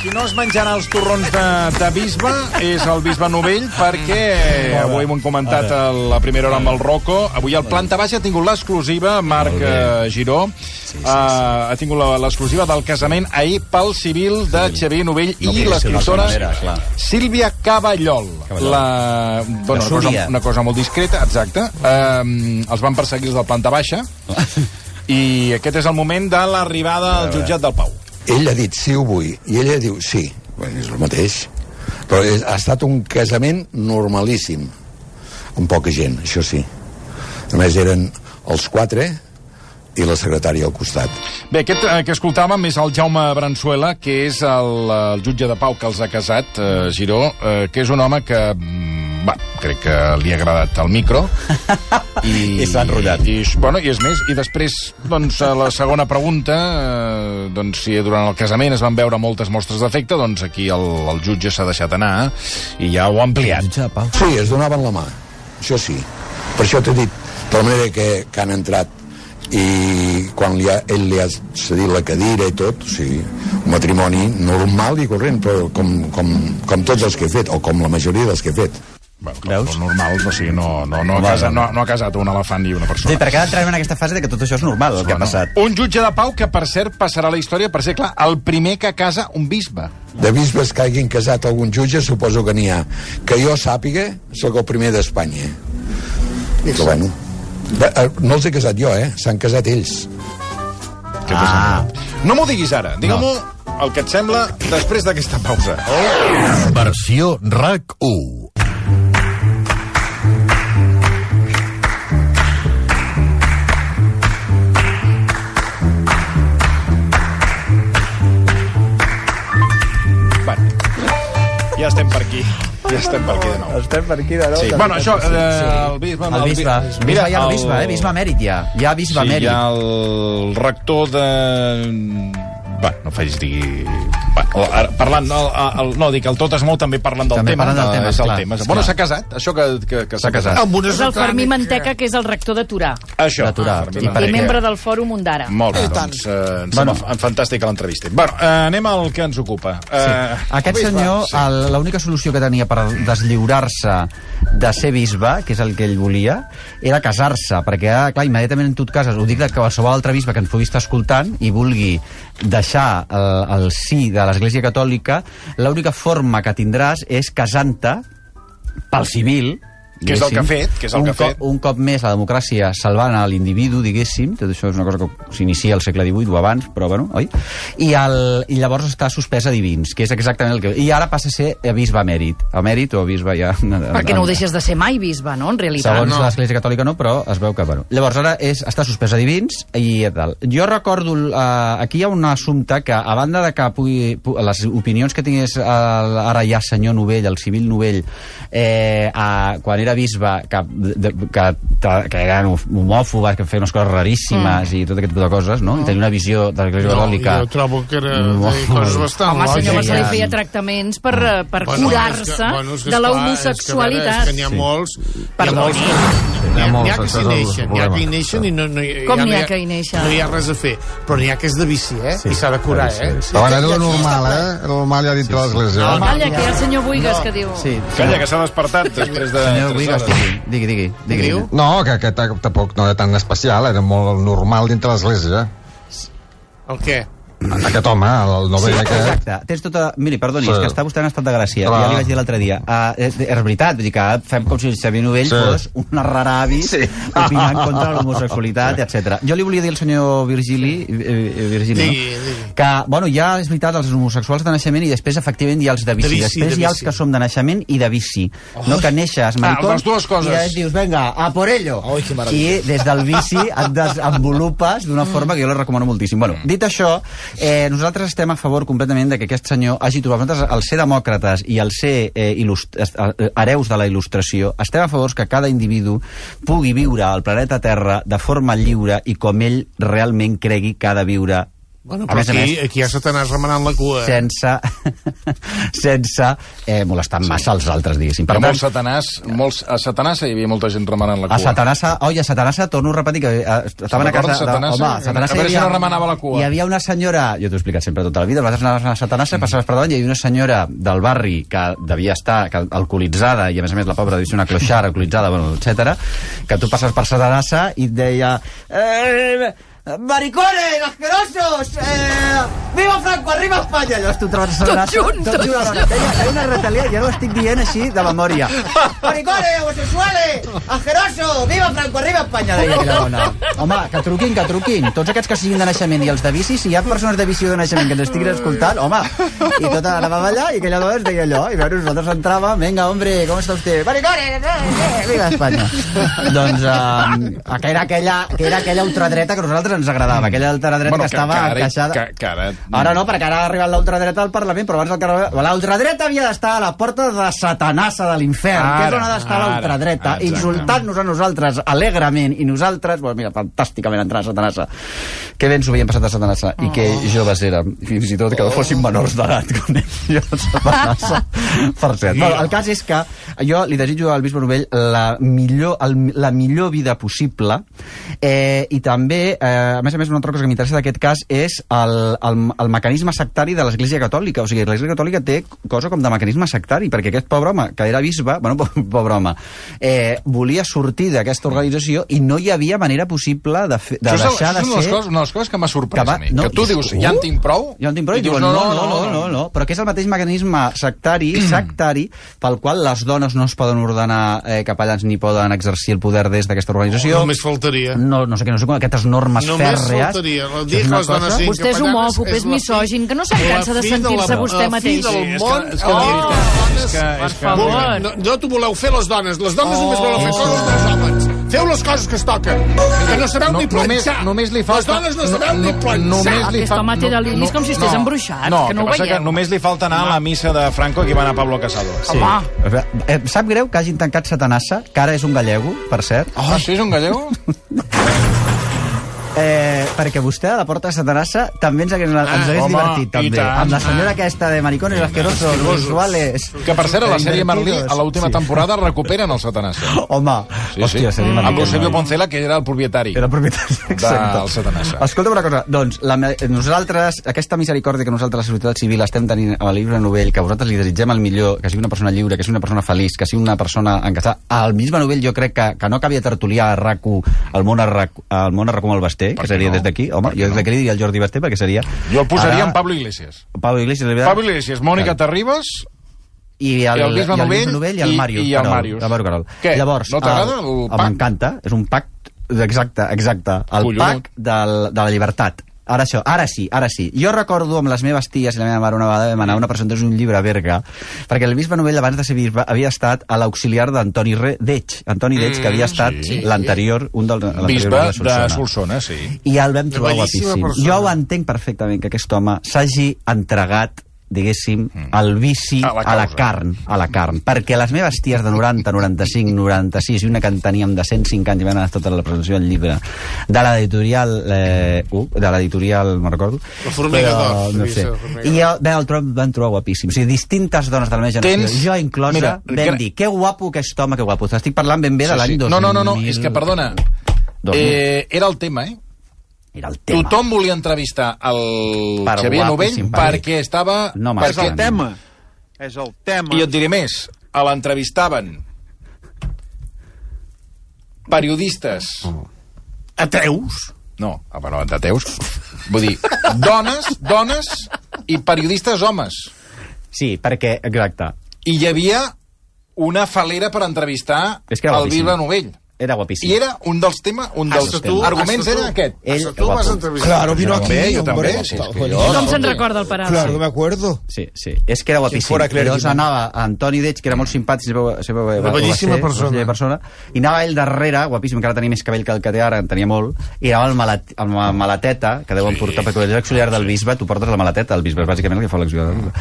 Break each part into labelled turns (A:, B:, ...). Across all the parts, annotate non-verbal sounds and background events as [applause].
A: Qui no es menjarà els torrons de, de bisbe és el bisbe Novell, perquè eh,
B: Mm.
A: avui m'ho hem comentat a la primera hora amb el Rocco. Avui el planta baixa ha tingut l'exclusiva, Marc eh, Giró, eh, ha tingut la- l'exclusiva del casament ahir pel civil de Xavier Novell i
B: podia ser d'altra
A: l'escriptora
B: manera, clar.
A: Sílvia Cavallol.
B: Cavallol.
A: La, bueno, una, cosa,
B: Súria.
A: una cosa molt discreta, exacte. Eh, els van perseguir els de planta
B: [laughs]
A: baixa i aquest és el moment de l'arribada al jutjat del Pau.
C: ell ha dit sí ho vull i ella diu sí, bueno, és el mateix però és- ha estat un casament normalíssim amb poca gent, això sí només eren els quatre i la secretària al costat
A: Bé, aquest eh, que escoltàvem és el Jaume Branzuela, que és el, el jutge de pau que els ha casat, eh, Giró, eh, que és un home que, mm, va, crec que li ha agradat el
B: [laughs]
A: micro. I,
B: I s'ha enrotllat.
A: I, bueno, I és més, i després, doncs, a la segona pregunta, eh, doncs, si durant el casament es van veure moltes mostres d'efecte, doncs aquí el, el jutge s'ha deixat anar i ja ho ha ampliat.
B: Jutge de Pau.
C: sí, es donaven la mà, això sí per això t'he dit, de la manera que, que han entrat i quan li ha, ell li ha cedit la cadira i tot, o sigui, un matrimoni normal i corrent, però com, com, com tots els que he fet, o com la majoria dels que he fet
A: Bueno,
B: Veus?
A: com normal, o sigui, no, no, no, ha
B: Home,
A: casat,
B: no.
A: no, no ha casat un elefant i una persona.
B: Sí, perquè ara entrarem en aquesta fase de que tot això és normal, el que ha
A: Bueno,
B: passat.
A: Un jutge de pau que, per cert, passarà a la història per ser, clar, el primer que casa un bisbe.
C: De bisbes que hagin casat algun jutge, suposo que n'hi ha. Que jo sàpiga, sóc el primer d'Espanya. Però bueno, de, eh, no els he casat jo, eh? S'han casat ells.
B: Ah,
A: No m'ho diguis ara, digue-m'ho el que et sembla després d'aquesta pausa.
D: Versió RAC 1.
A: Bueno, ja estem per aquí. Ja estem per aquí de nou.
B: estem per aquí de nou.
A: Sí. Bueno, això, eh, el bisbe...
B: El bisbe. Mira, hi ha el bisbe, eh? Bisbe emèrit, ja. Hi ha bisbe
A: Sí, hi
B: emèrit.
A: ha el rector de... Va, no facis dir... Va, el, ara, parlant, el, el, no, dic, el tot es mou també parlant del
B: També
A: tema.
B: parlen del
A: no,
B: tema,
A: és el
B: clar,
A: tema.
B: és
A: Bueno,
B: clar.
A: s'ha casat, això que, que, que s'ha casat.
E: Amb unes
F: És el Fermí Manteca, que és el rector de Torà
A: Això.
B: D'aturar.
A: Ah,
F: i
B: I per
A: Fermí Manteca.
B: què?
F: membre del Fòrum Ondara.
A: Molt bé, doncs, eh, em sembla bueno. fantàstica l'entrevista. Bueno, eh, anem al que ens ocupa. Eh,
B: Sí. Aquest
A: bisbe,
B: senyor,
A: sí.
B: el- l'única solució que tenia per deslliurar-se de ser bisbe, que és el que ell volia, era casar-se, perquè, ara, clar, immediatament tu et cases, ho dic de qualsevol altre bisbe que ens pugui estar escoltant i vulgui deixar el, el sí de l'Església Catòlica, l'única forma que tindràs és casant-te pel civil,
A: Que és el que ha
B: diguéssim.
A: fet, que és el
B: un
A: que ha fet.
B: Cop, un cop més la democràcia salvant a l'individu, diguéssim, tot això és una cosa que s'inicia al segle XVIII o abans, però bueno, oi? I, el, I llavors està suspès a divins, que és exactament el que... I ara passa a ser bisbe emèrit. Emèrit o bisbe ja... Eh,
F: Perquè no ho deixes de ser mai bisbe, no?, en realitat.
B: Segons no. l'Església Catòlica no, però es veu que... Bueno. Llavors ara és, està suspès a divins i tal. Jo recordo... Uh, aquí hi ha un assumpte que, a banda de que pugui, pu, les opinions que tingués uh, ara ja senyor Novell, el civil Novell, eh, a, quan era bisbe, que, de, que, que eren homòfobes, que feien unes coses raríssimes mm. i tot aquest tipus de coses, no? no. I tenia una visió de l'Església Catòlica...
E: jo trobo que era
B: Molt.
E: de coses bastant
F: Home, senyor
B: lògic.
F: Barceló
B: Ja.
F: li feia tractaments per, eh, per
E: Bueno, és
F: curar-se
E: que- bueno, és que,
F: de
E: esclar,
F: l'homosexualitat.
E: És que, a veure, és que n'hi ha molts...
F: Perdoni.
E: N'hi ha, molts
G: N'hi ha
E: que- n'hi ha- n'hi ha
G: molts,
E: que s'hi
G: això és el
E: neixen, n'hi ha que hi
G: problema.
E: neixen i no, no, hi-
F: Com
E: ja
F: n'hi ha
E: no
F: que hi neixen?
E: No hi ha res a fer, però n'hi ha que és de vici, eh? I s'ha de curar, eh?
G: Però bueno, era normal, eh? Era normal, ja ha dit sí, l'església.
F: Ah,
G: No,
F: Calla, que hi ha el senyor Buigas que diu...
B: Sí.
A: Calla, que s'ha despertat després de...
B: Senyor
A: tres
B: Buigas,
A: hores.
B: digui, digui, digui. digui.
E: Diu?
G: no. no que, que ta- tampoc no era tan especial, era molt normal dintre l'església.
E: El què?
G: Aquest home, el novell sí, aquest...
B: Exacte, tens tota... Miri, perdoni,
G: Sí.
B: és que està vostè en estat de gràcia,
G: Clar.
B: ja li vaig dir l'altre dia. Uh, és, és veritat, vull dir que fem com si Xavier Novell
G: Sí.
B: sí. fos una rara avi sí. opinant contra l'homosexualitat, etc. Jo li volia dir al senyor Virgili, eh, eh, Virgili
E: Digui,
B: no?
E: digui.
B: que, bueno, ja és veritat, els homosexuals de naixement i després, efectivament, hi ha els de vici.
E: De vici,
B: després
E: de
B: hi ha els
E: vici.
B: que som de naixement i de vici. No que neixes, maricón,
A: les dues coses.
B: i ja dius, venga, a por ello.
A: Ai, que maravilla.
B: I des del vici et desenvolupes d'una forma que jo la recomano moltíssim. Bueno,
E: Mm.
B: dit això, eh, nosaltres estem a favor completament de que aquest senyor hagi trobat... Nosaltres, al ser demòcrates i al ser eh, il·lust- est- eh, hereus de la il·lustració, estem a favor que cada individu pugui viure al planeta Terra de forma lliure i com ell realment cregui que ha de viure
E: Bueno,
B: A
E: però
B: més a
E: aquí, eh,
B: més-
E: aquí ja se t'anàs remenant la cua. eh? Sí.
B: sense, [laughs] sense eh, molestar massa els altres, diguéssim.
A: Per molts satanàs, molts, a Satanàs hi havia molta gent remenant
B: A
A: la cua.
B: Satanassa, oi, a Satanassa, torno a repetir que eh, estaven a
A: recorda
B: casa... De,
A: Satanassa?
B: home, a Satanassa
A: A veure si no remenava la cua.
B: Hi havia una senyora, jo t'ho he explicat sempre tota la vida, nosaltres anàvem a Satanassa,
A: Mm.
B: passaves per davant, i hi havia una senyora del barri que devia estar que, alcoholitzada, i a més a més la pobra devia ser una cloixar alcoholitzada, bueno, etc que tu passes per Satanassa i et deia... Eh, Maricones, asquerosos! Eh, viva Franco, arriba a Espanya! Llavors tu trobes a Satanassa...
F: junts, tots
B: junts,
F: junts.
B: Deia, era una retaliada, ja ho estic dient així de memòria. Maricones, homosexuales, asqueroso, viva Franco, arriba Espanya, deia aquella dona. Home, que truquin, que truquin. Tots aquests que siguin de naixement i els de bici, si hi ha persones de bici o de naixement que ens estiguin escoltant, home, i tota anava a ballar i aquella dona es deia allò, i veure, nosaltres entràvem, venga, hombre, com està usted? Maricones, eh, eh, viva Espanya. doncs, eh, que era aquella, que era aquella ultradreta que a nosaltres ens agradava, aquella ultradreta
A: Bueno,
B: que, estava
A: ara,
B: encaixada...
A: Que, que ara...
B: Ara no, perquè ara ha arribat l'ultradreta al Parlament, però abans el que... L'ultradreta havia d'estar a la porta de Satanassa de l'infern,
A: Ara,
B: que és on ha d'estar
A: ara,
B: l'ultradreta,
A: exacte.
B: insultant-nos a nosaltres alegrement, i nosaltres, bueno, mira, fantàsticament entrar a Satanassa. Que bé ens ho havíem passat a Satanassa, i que joves érem, fins i tot que fossin menors d'edat, [laughs] com deia el Satanassa. per cert. Bueno, el cas és que jo li desitjo al bisbe Novell la millor, el, la millor vida possible, eh, i també, eh, a més a més, una altra cosa que m'interessa d'aquest cas és el, el, el mecanisme sectari de l'Església Catòlica. O sigui, l'Església Catòlica té cosa com de mecanisme sectari, perquè aquest pobre home, que era bisbe, bueno, [laughs] po- pobre home, eh, volia sortir d'aquesta organització i no hi havia manera possible de, fer, de
A: això és,
B: deixar de
A: això és una, de les
B: ser...
A: coses, una de les coses que m'ha sorprès
B: Que va-
A: a mi.
B: no,
A: que tu
B: i-
A: dius, ja en tinc prou?
B: Ja en tinc prou. I
A: I
B: diuen, no, no, no, no, no, però que és el mateix mecanisme
A: [clears throat]
B: sectari, sectari, pel qual les dones no es poden ordenar eh, capellans ni poden exercir el poder des d'aquesta organització.
E: Només faltaria.
B: No, no sé què, no sé com, aquestes normes
E: Només
B: fèrrees.
E: faltaria. El
B: Això
E: dia
B: és
E: que
B: una
E: les dones
B: cosa-
E: siguin-
F: Vostè és homòfob, és misògin, que no se'n cansa de sentir-se vostè mateix.
E: La fi del
A: és que-
E: món... Oh!
A: és que la veritat, és que- és que-
E: Vol- No, no t'ho voleu fer les dones. Les dones només
H: Oh.
E: volen fer coses dels homes. Feu les coses que es toquen. Que no sabeu
A: No,
E: ni
A: només,
E: planxar.
A: només li falta...
E: Les dones no sabeu ni planxar.
A: només li
F: Aquest home té deliris com si estés embruixat,
A: no,
F: que no ho
A: passa
F: veieu.
A: Que només li falta anar a la missa de Franco que hi va anar Pablo Casado.
B: Sí. Eh, eh, Sap greu que hagin tancat Satanassa, que ara és un gallego, per cert,
A: Ah, sí, és un
F: [laughs]
A: gallego?
B: eh, perquè vostè a la porta de Satanassa també ens hagués, ens hagués
A: Ah, home,
B: divertit,
A: i
B: també.
A: tant.
B: Amb la senyora aquesta de maricones, asquerosos, usuales...
A: Que, per cert, a la sèrie Merlí, a l'última
B: Sí.
A: temporada, recuperen el Satanàs.
B: Home,
A: Sí,
B: hòstia,
A: sí.
B: seria
A: Amb
B: meravellós.
A: Eusebio Poncela, que era el propietari.
B: Era propietari, exacte.
A: del Satanàs.
B: Escolta'm una cosa, doncs, la, me- nosaltres, aquesta misericòrdia que nosaltres, la societat civil, estem tenint a l'Ibra Novell, que vosaltres li desitgem el millor, que sigui una persona lliure, que sigui una persona feliç, que sigui una persona encaixada. El bisbe Novell jo crec que, que no acabi de tertuliar a RAC1, al món a RAC, al món a RAC1 al Basté, que seria
A: no?
B: des d'aquí. Home, jo des d'aquí li diria al Jordi Basté, perquè seria...
A: Jo el posaria
B: Ara-
A: en Pablo Iglesias.
B: Pablo Iglesias, la veritat.
A: Pablo Iglesias, Mònica Terribas,
B: i el,
A: I el
B: i
A: Bisbe
B: el
A: Novell
B: Bisbe Novell i
A: i-
B: el Màrius.
A: i el
B: Carol,
A: Màrius.
B: el Màrius Carol.
A: Què?
B: Llavors,
A: No t'agrada
B: el-
A: el
B: el
A: pack?
B: M'encanta, és un pack, exacte, exacte, el
A: Collonut.
B: pack del, de la llibertat. Ara això, ara sí, ara sí. Jo recordo amb les meves ties i la meva mare una vegada vam anar a una presentació d'un llibre a Berga, perquè el bisbe Novell abans de ser bisbe havia estat a l'auxiliar d'Antoni Re- Deig. Antoni Deig, que havia
A: Mm,
B: estat l'anterior, un dels... l'anterior
A: bisbe
B: de
A: de
B: Solsona
A: Solsona, sí.
B: i el vam trobar
E: Bellíssima
B: guapíssim.
E: persona.
B: Jo ho entenc perfectament, que aquest home s'hagi entregat diguéssim, el vici
A: Mm. A
B: a la, a
A: la causa.
B: la carn, a la carn. Perquè les meves ties de 90, 95, 96 i una que en teníem de 105 anys i van anar a tota la presentació del llibre de l'editorial eh, U, de l'editorial, me'n recordo. Eh,
E: La Formiga
A: Ah,
E: d'Or,
B: No
E: devia
B: sé.
E: ser la Formiga
B: I jo, bé, el trob, van trobar guapíssim. O sigui, distintes dones de la meva generació,
A: Tens-
B: jo inclosa,
A: Mira,
B: vam
A: que-
B: dir, que guapo aquest home, que guapo. Estic parlant ben bé de
A: Sí,
B: l'any
A: sí.
B: 2000.
A: No, no, no, no, és que, perdona,
B: 2000.
A: eh, era el tema, eh?
B: Era el tema.
A: Tothom volia entrevistar el
B: Per
A: Xavier
B: guapo i
A: Novell
B: simpàtic.
A: perquè estava...
B: No, home,
I: És el
B: Perquè-
I: tema. És el tema.
A: I et diré més, a l'entrevistaven periodistes...
B: Oh.
E: Ateus?
A: No, a part de teus. Vull dir, dones, dones i periodistes homes.
B: Sí, perquè, exacte,
A: I hi havia una falera per entrevistar
B: És que era Ah,
A: el
B: guapíssim.
A: Vila Novell.
B: era guapíssim.
A: I era un dels temes, un dels
E: Hasta tu,
A: arguments
E: hasta tu.
A: era aquest.
B: Ell,
E: Això tu vas
B: guapo.
E: entrevistar.
H: Claro, vino aquí,
A: També, jo
H: hombre.
A: també, Oh, sí, és que
H: Joder,
A: jo-
F: Com se'n recorda el paràsit?
H: Claro, no me acuerdo.
B: Sí, sí. És que era guapíssim.
H: fuera
B: Llavors
H: clergyman.
B: anava Antoni Deig, que era molt simpàtic, sempre, ho- sempre ho- ho va
E: bellíssima
B: ser,
E: persona.
B: una bella persona, i anava ell darrere, guapíssim, que ara tenia més cabell que el que té ara, en tenia molt, i anava el malet, amb la maleteta, que deuen portar, perquè és auxiliar del bisbe, tu portes la maleteta, el bisbe és bàsicament el que fa l'auxiliar del bisbe.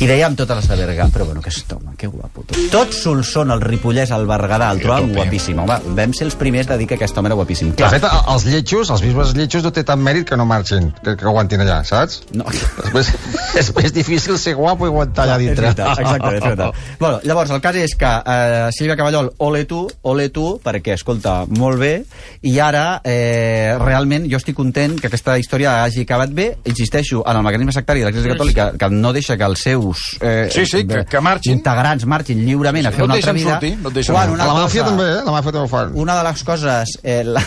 B: I deia amb tota la seva
E: eh?
B: verga, però bueno, que és home, que guapo. Tot, tot Solsona, el Ripollès, el Berguedà, el trobàvem guapíssim, home, bé, vam ser els primers de dir que aquest home era guapíssim.
G: De
B: Clar,
G: fet, a- els lletjos, els bisbes lletjos, no té tant mèrit que no marxin, que, que aguantin allà, saps?
B: No.
G: Després, després [laughs] és difícil ser guapo i aguantar allà
B: és
G: dintre.
B: veritat, exacte, és
G: [laughs]
B: veritat. bueno, llavors, el cas és que eh, Sílvia Cavallol, ole tu, ole tu, perquè, escolta, molt bé, i ara, eh, realment, jo estic content que aquesta història hagi acabat bé, insisteixo, en el mecanisme sectari de l'Església Catòlica, que no deixa que els seus... Eh,
A: Sí, sí, que- que marxin.
B: Integrants marxin lliurement a fer
A: No et
B: una altra
A: deixen
B: vida.
A: sortir, no et deixen
B: quan
A: sortir.
G: A
B: una
G: la màfia
B: cosa-
G: també, eh? La màfia també ho fan.
B: Una de les coses... Eh, la...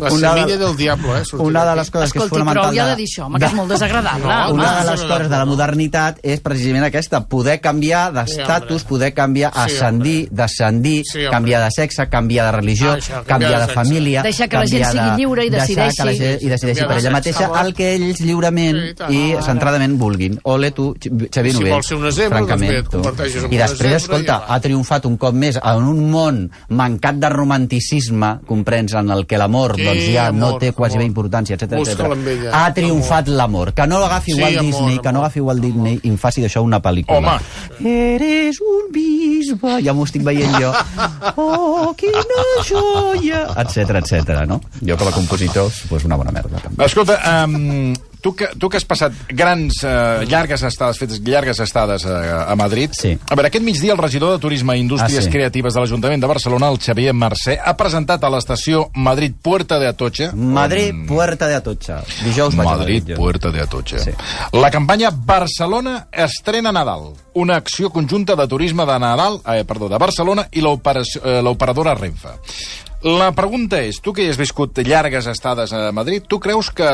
E: La
B: una de-
E: semilla del diablo, eh? sortirà
B: Una de
E: aquí.
B: les coses que és
F: Escolti, però
B: fonamental...
F: hauria de dir això, home, que és molt desagradable.
E: No,
F: home.
B: una
E: Ah,
B: de les
E: sí,
B: coses de la
E: no.
B: modernitat és precisament aquesta, poder canviar d'estatus, poder canviar,
E: Sí, hombre.
B: ascendir, descendir,
E: Sí, hombre.
B: canviar de sexe, canviar de religió,
E: Ah, això, canviar
B: canviar
E: de
B: de
E: sexe.
B: família...
F: Deixar que la gent
B: canviar de-
F: sigui lliure i
B: deixar que la
F: decideixi.
B: gent- I decideixi
E: Canviar
B: per
E: de
B: ella
E: sexe,
B: mateixa
E: amor.
B: el que ells lliurement
E: Sí, i tant.
B: i centradament vulguin. Ole tu, X- Xavi
E: Si
B: Novell.
E: vols ser una zebra, doncs
B: francament,
E: bé, et
B: tu.
E: converteixes en
B: I
E: una
B: després,
E: zebra i
B: escolta,
E: ja va.
B: ha triomfat un cop més en un món mancat de romanticisme, comprens, en el que l'amor
E: Sí,
B: doncs ja no
E: amor,
B: té quasi bé
E: amor.
B: importància, etc
E: Busca-la amb
B: etc.
E: ella.
B: Ha triomfat l'amor. Que no l'agafi
E: Sí,
B: Walt
E: amor,
B: Disney, que no
E: amor.
B: agafi Walt Disney i em faci d'això una pel·lícula.
A: Home.
B: Eres un bisbe... Ja m'ho estic veient
A: [laughs]
B: jo. Oh, quina joia... Etcètera, etcètera, no? Jo com a compositor, pues una bona merda, també.
A: Escolta, um, tu, que, tu que has passat grans, uh, llargues estades, fetes llargues estades a, a Madrid,
B: Sí.
A: a veure, aquest migdia el regidor de Turisme i Indústries
B: Ah, sí.
A: Creatives de l'Ajuntament de Barcelona, el Xavier Mercè, ha presentat a l'estació Madrid Puerta de Atocha,
B: Mm. Madrid, Puerta de Atocha. Dijous vaig a
A: Madrid,
B: jo.
A: Puerta de Atocha.
B: Sí.
A: Sí. La campanya Barcelona estrena Nadal, una acció conjunta de turisme de Nadal, eh, perdó, de Barcelona i l'operació- eh, l'operadora Renfe. La pregunta és, tu que hi has viscut llargues estades a Madrid, tu creus que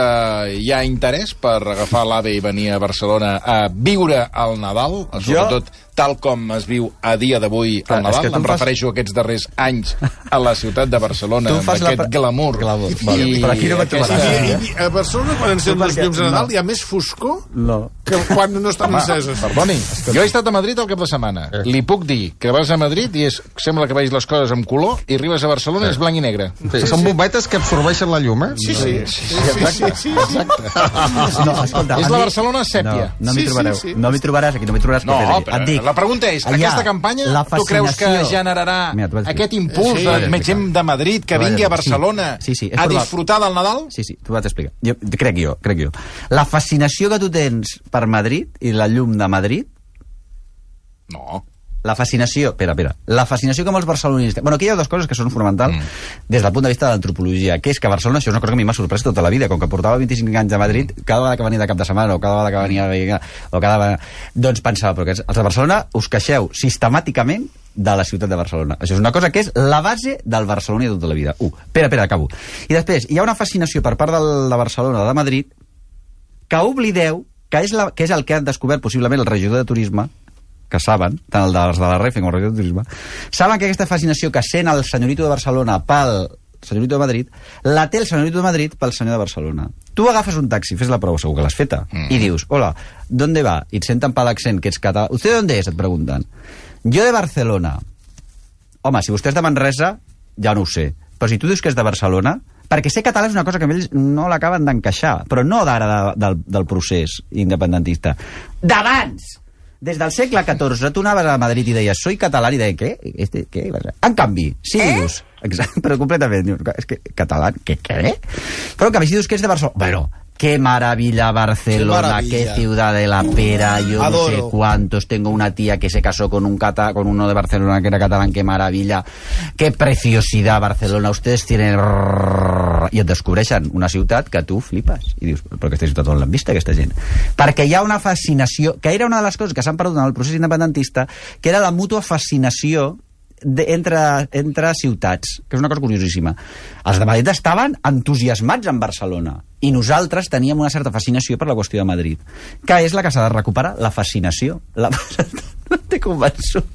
A: hi ha interès per agafar l'AVE i venir a Barcelona a viure el Nadal, sobretot tal com es viu a dia d'avui
B: Clar, és
A: el Nadal?
B: que tu
A: Em
B: em fas-
A: refereixo a aquests darrers anys a la ciutat de Barcelona,
B: Tu em
A: amb
B: fas la
A: aquest
B: pre-
A: glamour.
B: Glamour, vale. Però aquí no me
A: aquesta-
B: trobaràs.
E: I, i, a Barcelona, quan encenen els llums de Nadal, hi ha més foscor
B: No.
E: que quan no estan enceses.
A: Perdoni, jo he estat a Madrid el cap de setmana.
B: Eh.
A: Li puc dir que vas a Madrid i és, sembla que veig les coses amb color i arribes a Barcelona
B: Eh.
A: i és blanc i negre.
G: Sí, són bombetes que absorbeixen la llum, eh?
E: Sí, sí, sí, sí, sí, sí, sí.
B: Ah, No, escolta,
A: És
B: a
A: la
B: mi-
A: Barcelona sèpia.
B: No, no m'hi
E: Sí, sí,
B: trobareu.
E: sí.
B: No m'hi trobaràs, aquí no m'hi trobaràs.
A: No,
B: que fes aquí.
A: però
B: Et dic,
A: la pregunta és,
B: allà,
A: aquesta campanya
B: la
A: tu creus que
B: fascinació-
A: generarà
B: Mira, t'ho vaig dir.
A: aquest impuls
E: Sí,
A: de
E: sí,
A: més gent de Madrid que
B: Vaja,
A: vingui a
B: sí.
A: Barcelona
B: Sí, sí, és
A: a
B: probable.
A: disfrutar del Nadal?
B: Sí, sí, t'ho vaig explicar. Jo, crec jo, crec jo. La fascinació que tu tens per Madrid i la llum de Madrid,
A: No.
B: la fascinació... Espera, espera. La fascinació que molts barcelonins... Bueno, aquí hi ha dues coses que són fonamentals mm. des del punt de vista de l'antropologia, que és que Barcelona, això és una cosa que a mi m'ha sorprès tota la vida, com que portava 25 anys a Madrid, cada vegada que venia de cap de setmana, o cada vegada que venia... de- O cada vegada... Doncs pensava, però aquests, els de Barcelona us queixeu sistemàticament de la ciutat de Barcelona. Això és una cosa que és la base del barceloní de tota la vida. Un. Espera, espera, acabo. I després, hi ha una fascinació per part del, de Barcelona, de Madrid, que oblideu que és, la, que és el que han descobert possiblement el regidor de turisme, que saben, tant el de, els de la Renfe com el regidor de turisme, saben que aquesta fascinació que sent el senyorito de Barcelona pel senyorito de Madrid, la té el senyorito de Madrid pel senyor de Barcelona. Tu agafes un taxi, fes la prova, segur que l'has feta, mm. i dius, hola, d'on va? I et senten per l'accent, que ets català. ¿Usted d'on és? Et pregunten. Jo de Barcelona. Home, si vostè és de Manresa, ja no ho sé. Però si tu dius que és de Barcelona, perquè ser català és una cosa que a ells no l'acaben d'encaixar, però no d'ara de, del, del procés independentista. D'abans! Des del segle XIV tu anaves a Madrid i deies soy català i deia què? Este, què? En canvi, sí eh? dius... Exacte, però completament. Dius, és que català, què, què? Però en canvi, si dius que és de Barcelona... Bueno, Qué maravilla Barcelona, qué
H: maravilla.
B: ciudad de la pera, yo no sé
H: Adoro.
B: cuántos. Tengo una tía que se casó con un cata, con uno de Barcelona que era catalán, qué maravilla, qué preciosidad Barcelona. Ustedes tienen... I et descobreixen una ciutat que tu flipes. I dius, però aquesta ciutat on l'han vista, aquesta gent? Perquè hi ha una fascinació, que era una de les coses que s'han perdut en el procés independentista, que era la mútua fascinació de, entre, entre ciutats, que és una cosa curiosíssima. Els de Madrid estaven entusiasmats en Barcelona i nosaltres teníem una certa fascinació per la qüestió de Madrid, que és la que s'ha de recuperar, la fascinació. La... [laughs] No t'he convençut.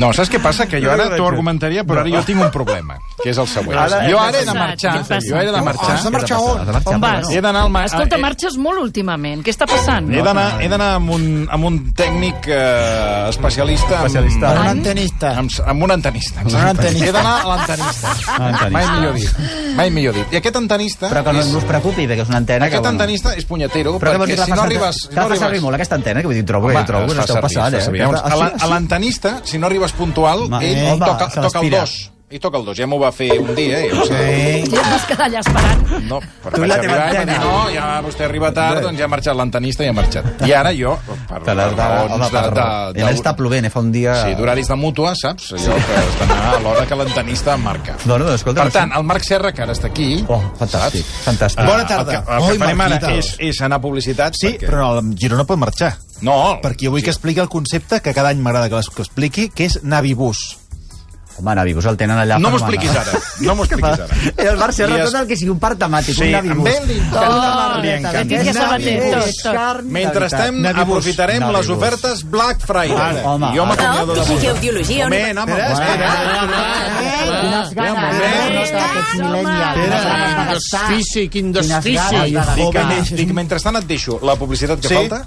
A: No, saps què passa? Que jo
B: No,
A: ara
B: no, no,
A: t'ho
B: no.
A: argumentaria, però ara jo tinc un problema, que és el següent.
B: Ara-
A: Jo ara he de
F: Què
A: marxar.
F: passa? Què
A: Jo ara he de
F: passa?
A: marxar.
H: Has de marxar
B: Què
H: on?
B: t'ha passat? Has de marxar,
F: On vas?
B: però
A: He d'anar al... ma-
F: Escolta,
A: a-
F: marxes molt últimament. Què està passant?
A: He d'anar he d'anar amb, un, amb un tècnic eh, especialista... en-
B: Especialista.
H: Un
F: Ai.
H: antenista.
A: Amb, amb un antenista.
H: un antenista.
A: He d'anar a
B: [laughs]
A: l'antenista.
B: Antenista.
A: Mai millor dit. Mai millor dit. I aquest antenista...
B: Però que no, no us preocupi, perquè és una antena
A: Aquest
B: que...
A: antenista és punyetero,
B: Però que vols dir
A: perquè
B: que la
A: si no
B: fas-
A: arribes...
B: que la fa servir molt, aquesta antena, que vull dir, trobo, Home, trobo, us
A: es fa
B: esteu
A: servir,
B: passant,
A: es fa
B: eh?
A: servir. Llavors, a la- a l'antenista, si no arribes puntual,
B: Home,
A: ell
B: home,
A: toca,
B: se
A: toca el
B: l'aspira.
A: 2. I toca el dos, ja m'ho va fer un dia, eh? O sigui,
F: I et vas quedar allà esperant.
A: no, però
H: Tu
A: vaig
H: la teva
A: arribar i va dir,
H: antena.
A: no, ja vostè arriba tard, doncs ja ha marxat l'antenista i ha marxat. I ara jo, per, per
B: Te l'has de... Home,
A: raons de... de, de,
B: està plovent, eh, fa un dia...
A: Sí, d'horaris de mútua, saps? Allò que has d'anar a l'hora que l'antenista marca.
B: Bueno, doncs, escolta,
A: Per
B: no sé.
A: tant, el Marc Serra, que ara està aquí...
B: Oh, fantàstic, fantàstic.
H: Bona
A: El que,
H: tarda.
A: el que
H: Oi,
A: farem ara
H: Marquitos.
A: és, és anar a publicitat.
H: Sí,
A: perquè...
H: però no, Girona pot marxar.
A: No,
H: Perquè jo vull que expliqui el concepte que cada any m'agrada que l'expliqui, que és Navibus.
B: Home, Navibus el tenen allà...
A: no m'ho
B: fenomenal.
A: expliquis ara. No
B: [laughs]
A: m'ho expliquis ara.
B: El Marc Serra
A: I es-
B: tot el que sigui un parc temàtic,
A: Sí,
B: un
A: amb
B: Navibus.
A: ell li
F: Oh,
A: encanta. Li encanta.
F: Letícia Sabater, tot, tot.
A: Mentrestant,
H: Navibus.
A: aprofitarem
B: Navibus.
A: les ofertes Black Friday.
H: Ara.
B: Home,
A: jo
B: ara.
A: m'acomiado de vosaltres.
J: audiologia...
A: Moment, home,
F: Quines ganes.
B: eh?
A: moment,
F: Quines ganes.
E: Quin desfici, quin desfici.
A: Dic, que, dic, que mentrestant et deixo la publicitat que
H: Sí.
A: falta,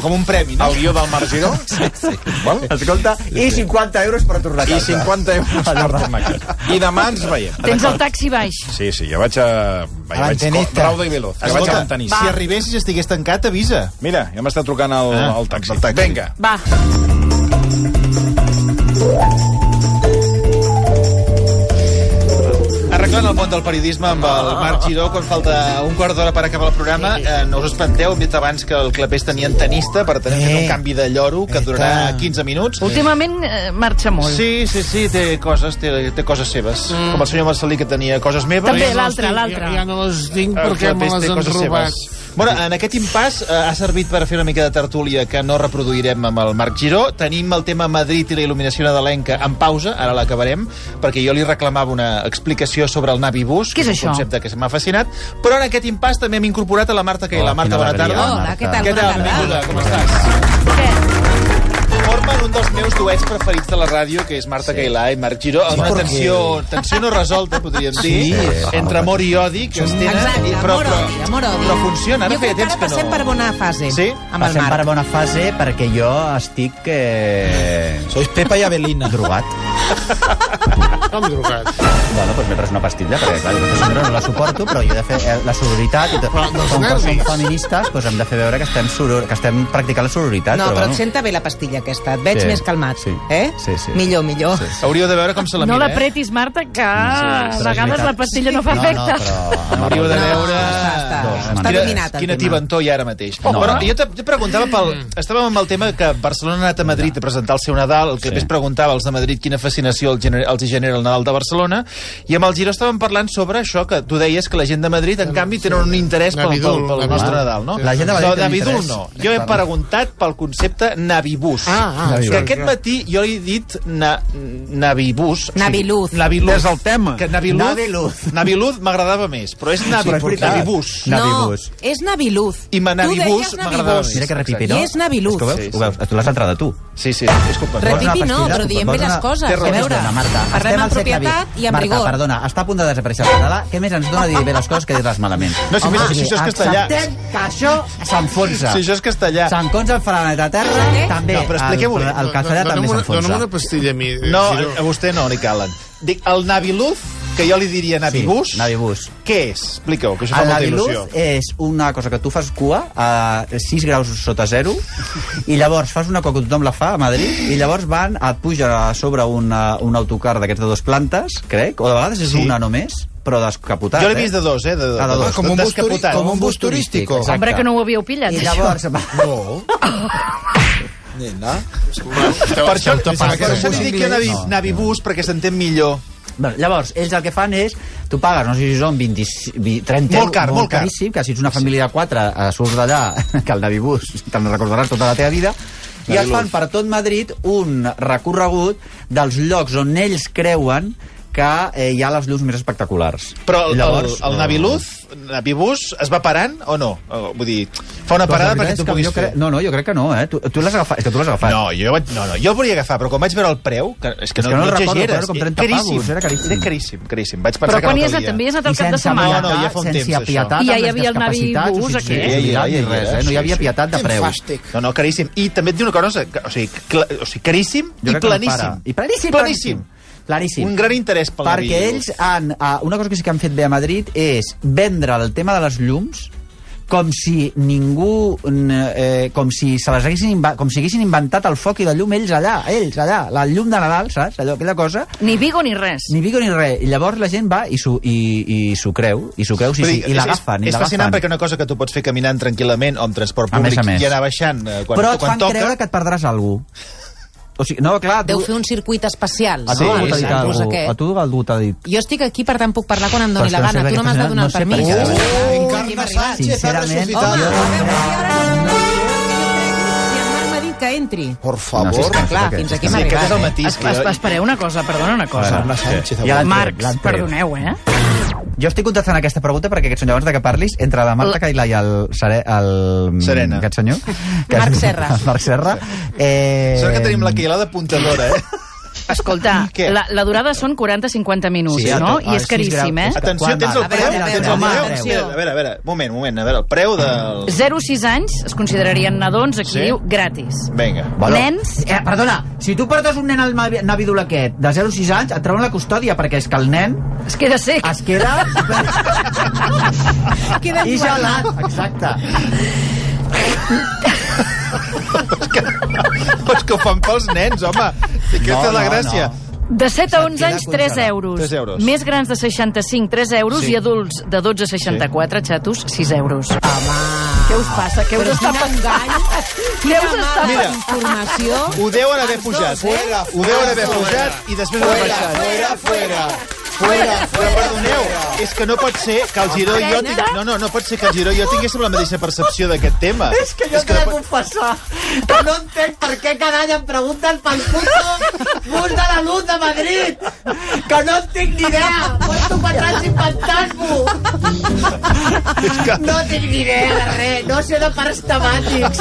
H: Com un premi, no?
A: el guió del Marc Giró sí, sí. Val?
B: Escolta, i 50 euros per tornar a
A: i
B: casa.
A: 50 euros per tornar aquí. I demà ens veiem.
F: Tens el taxi baix.
A: Sí, sí, ja vaig a... Ja
H: A
A: vaig
H: l'antenista.
A: Rauda i Veloz. Ja vaig a
H: Escolta,
A: l'antenista.
H: si arribessis i estigués tancat, avisa.
A: Mira, ja m'està trucant el,
H: Ah,
A: el, taxi.
H: el taxi.
A: Vinga.
F: Va,
H: Arreglant el món del periodisme amb el Marc Giró quan falta un quart d'hora per acabar el programa eh, no us espanteu, hem dit abans que el Clapés tenia tenista, per tant hem fet un canvi de lloro que durarà 15 minuts
F: últimament eh, marxa molt.
H: Sí, sí, sí, té coses, té, té coses seves. Mm. Com el senyor Marcelí, que tenia coses meves.
F: També
H: El
F: l'altre, l'altre.
E: Ja no les tinc
H: Clapés
E: perquè me les
H: té
E: han
H: Ah, coses
E: robat.
H: seves. Bueno, en aquest impàs eh, ha servit per fer una mica de tertúlia que no reproduirem amb el Marc Giró. Tenim el tema Madrid i la il·luminació nadalenca en pausa, ara l'acabarem, perquè jo li reclamava una explicació sobre el Navibus,
F: Què és
H: que
F: això?
H: un concepte que m'ha fascinat, però en aquest impàs també hem incorporat a la Marta
B: Oh,
H: Cailà. Oh, Marta,
B: quina
H: bona tarda.
B: alegria, Hola,
J: què tal?
H: Què
J: Bona
H: tal?
J: tarda.
H: Benvinguda, com estàs?
F: Què?
H: formen un dels meus duets preferits de la ràdio, que és Marta sí. Cailà i Marc Giró, amb una tensió, tensió no resolta, podríem dir, sí. entre amor i odi, que es tenen,
J: Exacte,
H: i-
J: amor, odi, amor, odi.
H: però funciona, ara
J: Jo
H: feia
J: crec que
H: temps
J: ara
H: que no...
J: passem per bona fase
H: Sí?
J: amb el
B: Passem per
J: Marc.
B: bona fase perquè jo estic... Eh... Sois Pepa i Abelina. Drogat.
E: Com drogat.
B: Bueno, doncs prendre's una pastilla, perquè clar, jo aquesta senyora no la suporto, però jo he de fer eh, la sororitat i tot.
E: Però dels
B: Com que som
E: nervis.
B: feministes, doncs hem de fer veure que estem, soror... que estem practicant la sororitat.
J: No, però et
B: bueno,
J: senta bé la pastilla aquesta. Et veig
B: Sí,
J: més calmat.
B: sí.
J: Eh?
B: Sí, sí.
J: Millor, millor. Sí.
H: Hauríeu de veure com se la
F: No
H: mira, eh?
F: l'apretis, Marta, que a
B: és
F: vegades
B: veritat.
F: la pastilla no fa
B: No, no,
F: efecte.
B: però...
H: Hauríeu de
J: No,
H: veure...
J: està, està.
B: Doncs,
J: Està
H: Mira,
J: dominat, el
H: Quina
J: tema.
H: tibantor hi ha ara mateix. No. Però jo te, te preguntava pel... Estàvem amb el tema que Barcelona ha anat a Madrid a presentar el seu Nadal, el que sí. després preguntava als de Madrid quina fascinació els, gener, els hi genera el Nadal de Barcelona, i amb el Giró estàvem parlant sobre això que tu deies que la gent de Madrid, en canvi, tenen un interès pel, pel, pel,
E: Navidul, Navidul.
H: nostre Nadal, no?
B: La gent de Madrid
H: No,
B: té un
H: Navidul
B: interès.
H: no. Jo he preguntat pel concepte Navibus.
E: Ah, ah,
H: que aquest matí jo li he dit na, Navibus. o sigui,
J: Naviluz.
H: Naviluz.
I: És el tema.
H: Que Naviluz, Naviluz.
B: Naviluz.
H: m'agradava més, però és Navibus. Navibus.
J: No,
B: Navibus.
J: és Naviluz.
H: I ma-
J: Tu
H: Navibus
J: deies
H: m'agradava
J: Navibus.
H: més.
B: Mira que repipi, no?
J: I és Naviluz.
B: És que ho veus?
H: Sí,
B: Ho veus? Tu l'has entrat a tu.
H: Sí, sí, és culpa meva.
J: Repipi
B: Vols una
J: no,
B: pastilla?
J: però diem
B: Vols
J: bé les
B: una-
J: coses,
B: Té raó,
J: a veure.
B: perdona, Marta,
J: Parlem
B: estem
J: amb
B: al segle
J: propietat
B: XX.
J: i amb
B: Marta,
J: rigor.
B: perdona, està a punt de desaparèixer el català. Què més ens dona dir bé les coses que dir-les malament?
H: No, si més, si això és castellà.
B: Acceptem que això s'enfonsa.
H: Si això és castellà.
B: S'enfonsa el planeta Terra,
J: Eh?
B: també.
H: No, però expliqueu-ho
B: El,
H: bé.
B: el castellà
E: Dóna'm
B: també
E: una- Dóna'm
B: s'enfonsa.
E: una pastilla a mi. eh,
H: No,
E: Giró.
H: a vostè no li calen. Dic, el Naviluz, que jo li diria Navibus,
B: Sí, Navibus.
H: què és? Expliqueu, que això fa
B: El
H: molta il·lusió.
B: Naviluz és una cosa que tu fas cua a 6 graus sota zero i llavors fas una cua que tothom la fa a Madrid i llavors van, et puja a sobre una, un autocar d'aquests de dues plantes, crec, o de vegades és
H: Sí.
B: una només, però descapotat.
H: Jo l'he vist de dos, eh? De, de,
B: Ah, de dos.
H: Com un bus turístic.
B: un bus turístic. Exacte.
F: Hombre, que no ho havíeu pillat,
B: I
F: això.
B: llavors... No.
H: Per això, per
E: tapat,
H: això
E: eh?
H: li dic que Navi, Navibus, perquè s'entén millor.
B: Bueno, llavors, ells el que fan és... Tu pagues, no sé si són 20, 20 30
H: Molt car,
B: euros,
H: molt car.
B: caríssim, que si ets una família de 4 eh, surts d'allà, [laughs] que el Navibus te'n recordaràs tota la teva vida, i es fan per tot Madrid un recorregut dels llocs on ells creuen que eh, hi ha les llums més espectaculars.
H: Però el,
B: Llavors,
H: el, el
B: no.
H: Naviluz, Navibus, es va parant o no? Eh, Vull dir, fa
B: Doncs
H: una
B: la
H: parada
B: veritat
H: perquè
B: és
H: tu
B: que
H: puguis
B: jo cre...
H: fer.
B: No, no, jo crec que no, eh? Tu, tu l'has agafat, és que tu l'has agafat.
H: No, jo, vaig, no, no, jo volia agafar, però quan vaig veure el preu, que, és que
B: És
H: no,
B: que no
H: no,
B: el recordo,
H: exageres,
B: però era com 30
H: caríssim,
B: pavos, era caríssim.
H: Era caríssim, caríssim. Vaig pensar
F: Però quan
H: que
F: hi
H: no
F: has anat,
H: calia.
F: també hi has anat
B: I
F: el cap de
B: sense
F: setmana.
H: No, no, ja fa un temps,
B: sense
H: això.
B: pietat,
F: I ja hi
B: amb
F: havia
B: les
F: el
B: discapacitats,
F: Navibus,
B: o sigui,
F: aquest.
B: sense
H: Ja, ja,
B: pietat ni
H: ja, ja,
B: res, eh? No hi havia pietat de
H: sí, sí.
B: preu.
H: No, no, caríssim. I també et diu una cosa, que, o sigui, cla, o sigui caríssim
B: Jo
H: i
B: crec que no para.
H: planíssim.
B: I planíssim, planíssim.
H: planíssim.
B: Planíssim.
H: Un gran interès pel
B: Perquè eh,
H: Naviluz.
B: ells han... Uh, una cosa que sí que han fet bé a Madrid és vendre el tema de les llums com si ningú eh, com si se les haguessin inva- com si haguessin inventat el foc i la llum ells allà, ells allà, la llum de Nadal, saps? Allò, aquella cosa,
F: Ni Vigo ni res.
B: ni vigo ni res. I llavors la gent va i s'ho i, i s'ho creu, i s'ho creu, sí, sí, i
H: és-
B: l'agafen. i
H: És, és fascinant
B: l'agafen.
H: perquè una cosa que tu pots fer caminant tranquil·lament o amb transport
B: A més
H: públic
B: a més.
H: i anar baixant eh, quan,
B: Però et
H: quan
B: fan
H: toca...
B: creure que et perdràs algú. O sigui, no, clar,
J: Deu
B: tu,
J: fer un circuit especial.
B: a tu,
H: Sí,
B: algú t'ha
J: El
B: dit
H: sí,
J: campus
B: algú, a
J: aquest.
B: tu algú t'ha dit...
J: Jo estic aquí, per tant, puc parlar quan em
B: Però
J: doni
B: és
J: la
B: que no sé
J: gana. Tu
B: per
J: no
B: què
J: m'has de
B: aquesta
J: donar el
B: senyora- no
J: permís.
H: Oh,
B: sé per
J: Ui,
B: què ara-
J: aquí va arribar. Home,
B: Sincerament, jo-
J: a veure, i ara no. Si en Marc m'ha dit que entri.
I: Por favor.
B: No, sisplau.
J: Clar,
B: que-
J: fins aquí
H: Sí,
J: m'ha
H: aquest és el
J: arribat. eh?
H: matí.
F: Es,
B: eh?
F: es, espereu una cosa, perdona una cosa.
I: Ana Sánchez,
B: Ja l'han tret,
F: Marx,
B: l'han tret.
F: perdoneu,
B: [laughs]
F: eh?
B: Jo estic contestant aquesta pregunta perquè aquest senyor, abans de que parlis, entre la Marta
F: La-
B: Cailà i el, Sere, el... mm,
H: Serena.
B: Aquest
J: [laughs]
B: senyor. Que
J: Marc
B: es-
J: Serra.
B: [laughs] Marc Serra. Eh...
H: Sort que tenim la Cailà de
J: [laughs]
H: puntadora, eh?
F: Escolta,
H: Què?
F: la, la durada són 40-50 minuts,
B: Sí,
F: no?
B: ah,
F: I és
B: sí, és
F: caríssim,
B: greu.
F: eh?
H: Atenció,
B: Quan
H: tens
B: va?
H: el preu?
J: A veure, a
H: Tens
J: veure,
H: el preu?
J: atenció.
H: Espera, A veure, a veure, moment, moment, a veure, el preu del...
F: 0-6 anys es considerarien nadons, aquí
H: Sí.
F: diu, gratis.
J: Mm.
H: Vinga.
B: Bueno,
F: Nens,
B: Eh, perdona, si tu portes un nen al navi- navidul aquest de 0 a 6 anys, et treuen la custòdia perquè és que el nen
F: es queda sec.
B: es
J: [laughs]
B: queda...
J: Queda
B: I
J: igual.
B: gelat, exacte.
H: Però és que ho fan pels nens, home. Sí, aquesta
B: No,
H: és la
B: no,
H: gràcia.
F: De 7 a 11
B: queda
F: anys, 3
B: congelat.
F: euros.
H: Tres euros.
F: Més grans de 65, 3 euros.
H: Sí.
F: I adults de 12 a 64, xatos, 6 euros.
J: Home.
F: Què us passa? Què us
J: Però
F: està
J: quin
F: passant?
J: engany.
F: Què us
J: Quina
F: està
J: mala
H: Mira.
J: informació.
H: Ho deuen haver pujat, eh? Ho deuen haver pujat i després ho han baixat.
I: Fuera, fuera.
H: Fuera, fuera, perdoneu, és que no pot ser que el Giró i jo... Tinc... No, no, no pot ser que el Giró i jo tinguéssim la mateixa percepció d'aquest tema.
B: És que jo t'he de confessar que no entenc per què cada any em pregunten pel puto bus de la luz de Madrid. Que no en tinc ni idea. Porto quatre anys inventant-m'ho. No tinc ni idea de res. No sé de parcs temàtics.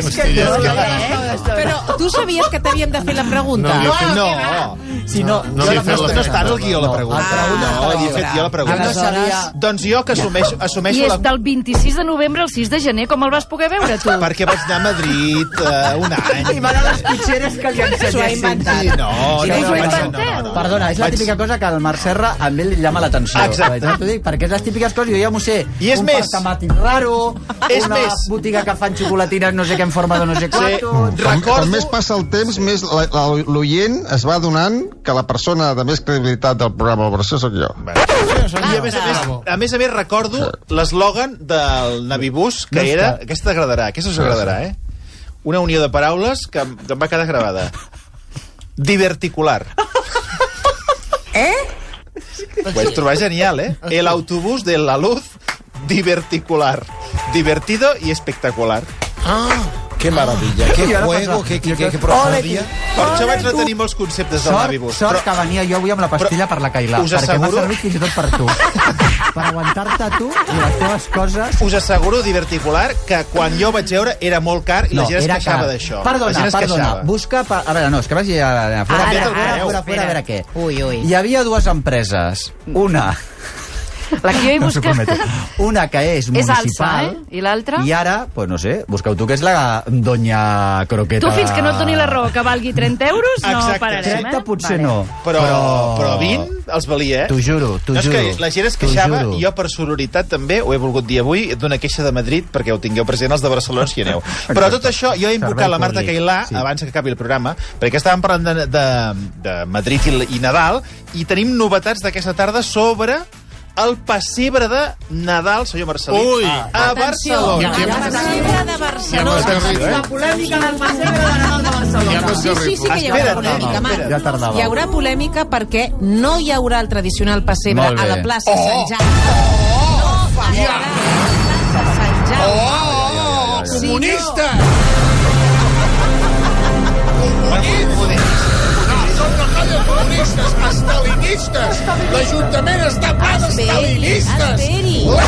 B: És que no, no,
J: Però tu sabies que t'havíem de fer la pregunta?
E: No, jo-
H: No,
B: Ah, Si no,
E: No
H: jo
E: li he
H: no,
E: fet la
H: no, no està en el guió la pregunta.
B: Ah, pregunta
H: no, li he fet jo la pregunta.
J: Aleshores-
H: Doncs jo que assumeixo,
F: I
H: assumeixo
F: és
H: la...
F: del 26 de novembre al 6 de gener, com el vas poder veure, tu?
H: Perquè vaig anar a Madrid uh, un any.
B: I van a les pitxeres que li
J: S'ho ha inventat.
H: Sí,
J: Si
H: no, no,
J: no us
H: no,
J: ho
H: vaig-
F: inventeu.
B: Perdona, és la
H: Vaig-
B: típica cosa que al Marc Serra a ell li llama l'atenció.
H: Exacte.
B: Saps què Dic, perquè és les típiques coses, jo ja m'ho sé.
H: I és
B: un
H: més.
B: parc temàtic raro,
H: [laughs] És
B: una
H: més.
B: botiga que fan xocolatines no sé què en forma de no sé quanto...
G: Com,
H: Mm. Recordo-
G: com més passa el temps, més la- la- l'oient es va donant que la persona de més credibilitat del programa de versió sóc jo.
H: I a més a més, a més, a més recordo l'eslògan del Navibus, que era... Aquesta t'agradarà, aquesta us agradarà, eh? Una unió de paraules que, em- que em va quedar gravada. Diverticular. Eh? Ho vaig trobar genial, eh? El autobús de la luz diverticular. Divertido i espectacular.
I: Qué maravilla, qué juego, qué, qué, qué, qué profundidad.
H: Per això vaig retenir molts conceptes del
B: Sort,
H: Navibus.
B: sort que venia jo avui amb la pastilla
H: però
B: per la Cailà,
H: us
B: perquè
H: asseguro-
B: m'ha servit fins i tot per
H: [laughs]
B: tu. per aguantar-te tu i les teves coses...
H: us asseguro, diverticular, que quan jo ho vaig veure era molt car i la gent es
B: era
H: queixava
B: car.
H: d'això. La gent
B: Perdona,
H: es
B: perdona.
H: queixava. Ah,
B: Busca... Pa... A veure, no, és que vagi a... a fora,
F: Ara,
B: fora,
F: ara,
B: fora, fora, fora,
F: espera.
B: a veure què.
J: Ui, ui.
B: Hi havia dues empreses. Una,
F: La que jo he
B: No s'ho
F: buscat...
B: prometo. Una que és
F: És
B: municipal...
F: alça, eh? I l'altra?
B: I ara, pues no sé, busqueu tu, que és la doña Croqueta...
F: Tu fins que no et doni la raó que valgui 30 euros, no
H: Exacte.
F: pararem, eh?
B: 30 potser
F: Vale.
B: no.
H: Però, però 20 els valia, eh?
B: T'ho juro, t'ho
H: no, és
B: juro.
H: Que la gent es
B: t'ho
H: queixava,
B: juro.
H: i jo per sororitat també, ho he volgut dir avui, d'una queixa de Madrid, perquè ho tingueu present els de Barcelona si
B: [laughs]
H: hi aneu. Però tot això, jo he invocat
B: Servei
H: la Marta
B: públic,
H: Cailà,
B: sí.
H: abans que acabi el programa, perquè estàvem parlant de, de, de Madrid i, l- i Nadal, i tenim novetats d'aquesta tarda sobre el pessebre de Nadal, senyor Marcelí,
E: Ui.
H: a Barcelona.
E: Ja, ja, ja.
J: Pessebre de Barcelona.
E: La
B: polèmica del pessebre de Nadal de Barcelona.
J: Sí, sí, sí que hi haurà
H: Espera't,
J: polèmica,
H: no, no,
J: Marc.
B: espera't. Ja tardava.
J: Hi haurà polèmica perquè no hi haurà el tradicional pessebre
B: Molt bé.
J: a la plaça
E: Oh!
J: Sant Jaume. No hi haurà a la plaça Sant Jaume.
H: eh,
E: Oh,
J: Sí,
E: comunista! comunistes, estalinistes. L'Ajuntament està ple
J: Esperi,
E: d'estalinistes.
J: esperi.
E: Lenin,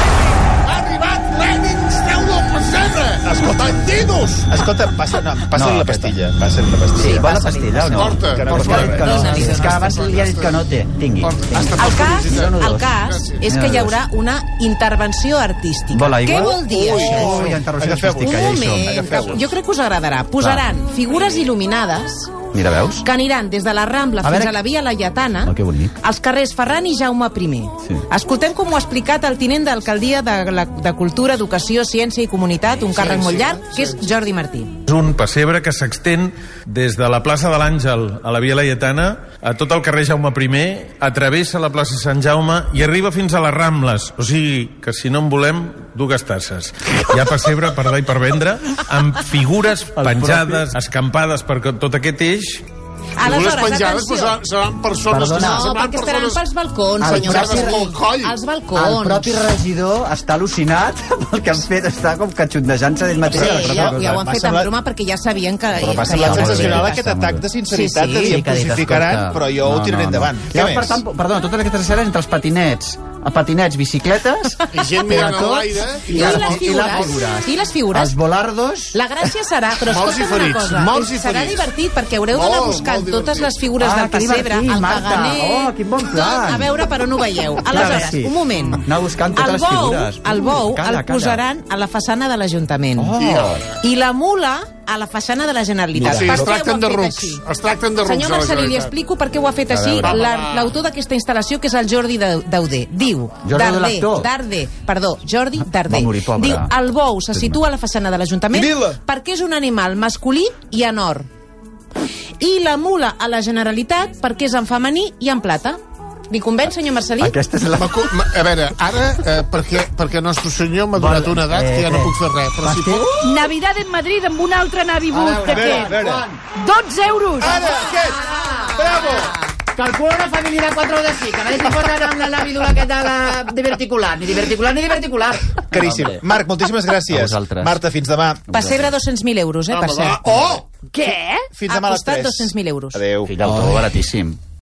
E: Ha arribat Lenin, treu del pessebre. Bandidos!
H: Escolta, passa, no, passa
B: No,
H: la
B: aquesta.
H: pastilla. Passa la pastilla.
B: Sí, vol la pastilla o no?
E: Porta,
B: que no,
E: porta.
B: que ha dit que no.
J: Dona-li,
B: És que abans li ha dit que no té. Tingui.
J: El cas, el
B: dos.
J: cas és que hi haurà una intervenció artística.
B: Vol aigua?
J: Què vol dir
B: Ui,
J: això?
B: ui, interrupció
H: Agafeu-vos.
J: Un
B: artística, ja hi som.
J: moment, que jo crec que us agradarà. Posaran figures il·luminades
B: Mira, veus?
K: que aniran des de la Rambla
B: A
K: fins
B: veure-
K: a la Via Laietana,
B: Oh, que bonic.
K: als carrers Ferran i Jaume I.
B: Sí.
K: Escoltem com ho ha explicat el tinent d'Alcaldia de, la, de Cultura, Educació, Ciència i Comunitat, un càrrec molt llarg, que és Jordi Martí.
L: És un pessebre que s'extén des de la plaça de l'Àngel a la Via Laietana a tot el carrer Jaume I, travessa la plaça Sant Jaume i arriba fins a les Rambles. O sigui que si no en volem, dues tasses. Hi ha pessebre per dar i per vendre amb figures penjades, escampades per tot aquest eix.
E: Aleshores, les penjades pues, seran- seran persones
L: Perdona.
E: que
L: No,
E: seran
K: perquè estaran
E: persones...
K: pels balcons,
E: Ah,
B: El
K: senyora.
B: propi
K: Serra.
E: oh,
B: rei-
K: Als balcons.
B: El propi regidor està al·lucinat [laughs] pel que han fet, està com catxondejant-se d'ell mateix.
K: Sí, ja, ja ho han
B: Va
K: fet en
B: semblar-
K: broma perquè ja sabien que...
B: Però va
K: que ja
B: semblar
K: ho havien
B: sensacional
K: fet.
B: aquest atac de
H: sinceritat
K: sí,
H: de
K: sí.
H: dir- crucificaran, però jo ho tiraré endavant. Què
B: Llavors,
H: més?
B: per tant, perdona, totes aquestes escenes entre els patinets, a patinets, bicicletes...
E: I gent mirant
B: pegatons,
E: enlaire, i
B: la-
E: les
B: I la
E: figures.
B: figura.
K: I les figures.
B: Els volardos...
K: La gràcia serà, però
B: Molts i
K: escolta'm una
B: ferits,
K: cosa, eh,
B: molts i
K: serà
B: ferits.
K: divertit perquè haureu d'anar
B: Molt,
K: buscant
B: molt
K: totes
B: divertit.
K: les figures
B: Ah,
K: del
B: que
K: pessebre,
B: divertit,
K: el
B: Marta.
K: caganer,
B: Oh, quin bon plan.
K: tot, a veure per on ho veieu. Aleshores,
B: Sí.
K: un moment.
B: Anar buscant totes
K: El
B: les
K: bou,
B: figures.
K: el bou
B: Calla,
K: el
B: calla.
K: posaran a la façana de l'Ajuntament.
B: Oh.
K: I la mula a la façana de la Generalitat.
E: Sí,
K: Per
E: es
K: què ho han
E: tracten de
K: fet
E: rucs.
K: així?
E: Es tracten de rucs.
K: Senyor
E: a la
K: Marcelí, li
E: Generalitat.
K: explico per què ho ha fet
E: A
K: així
E: veure.
K: la- l'autor d'aquesta instal·lació, que és el Jordi Dau- Dauder. Diu,
B: Jordi
K: Darder,
B: l'actor.
K: Darder, perdó, Jordi Darder.
B: Va morir, pobre.
K: Diu, el bou se situa a la façana de l'Ajuntament
B: Vila.
K: perquè és un animal masculí i en or. I la mula a la Generalitat perquè és en femení i en plata. Li convenç, senyor Marcelí?
B: Aquesta és la...
E: A veure, ara, eh, perquè, perquè Nostre Senyor m'ha donat una edat que
K: eh,
E: ja no puc fer res, però si puc...
F: Navidad en Madrid amb un altre Navi
E: A
F: Bus
E: veure,
F: de
E: a veure, a
F: què?
E: veure.
F: 12 euros!
E: Ara, aquest! Bravo!
M: Calcula una familia de cuatro de sí, que nadie te importa amb la làvidula que de la diverticular, ni diverticular ni diverticular.
H: Caríssim. Marc, moltíssimes
B: A
H: gràcies.
B: vosaltres.
H: Marta, fins demà.
K: Pessebre 200.000 euros, eh, per cert.
H: Oh!
K: Què?
H: Fins demà a
K: ha
H: les
K: costat
H: 3.
K: 200.000 euros.
H: Adéu.
B: Fill, el trobo baratíssim.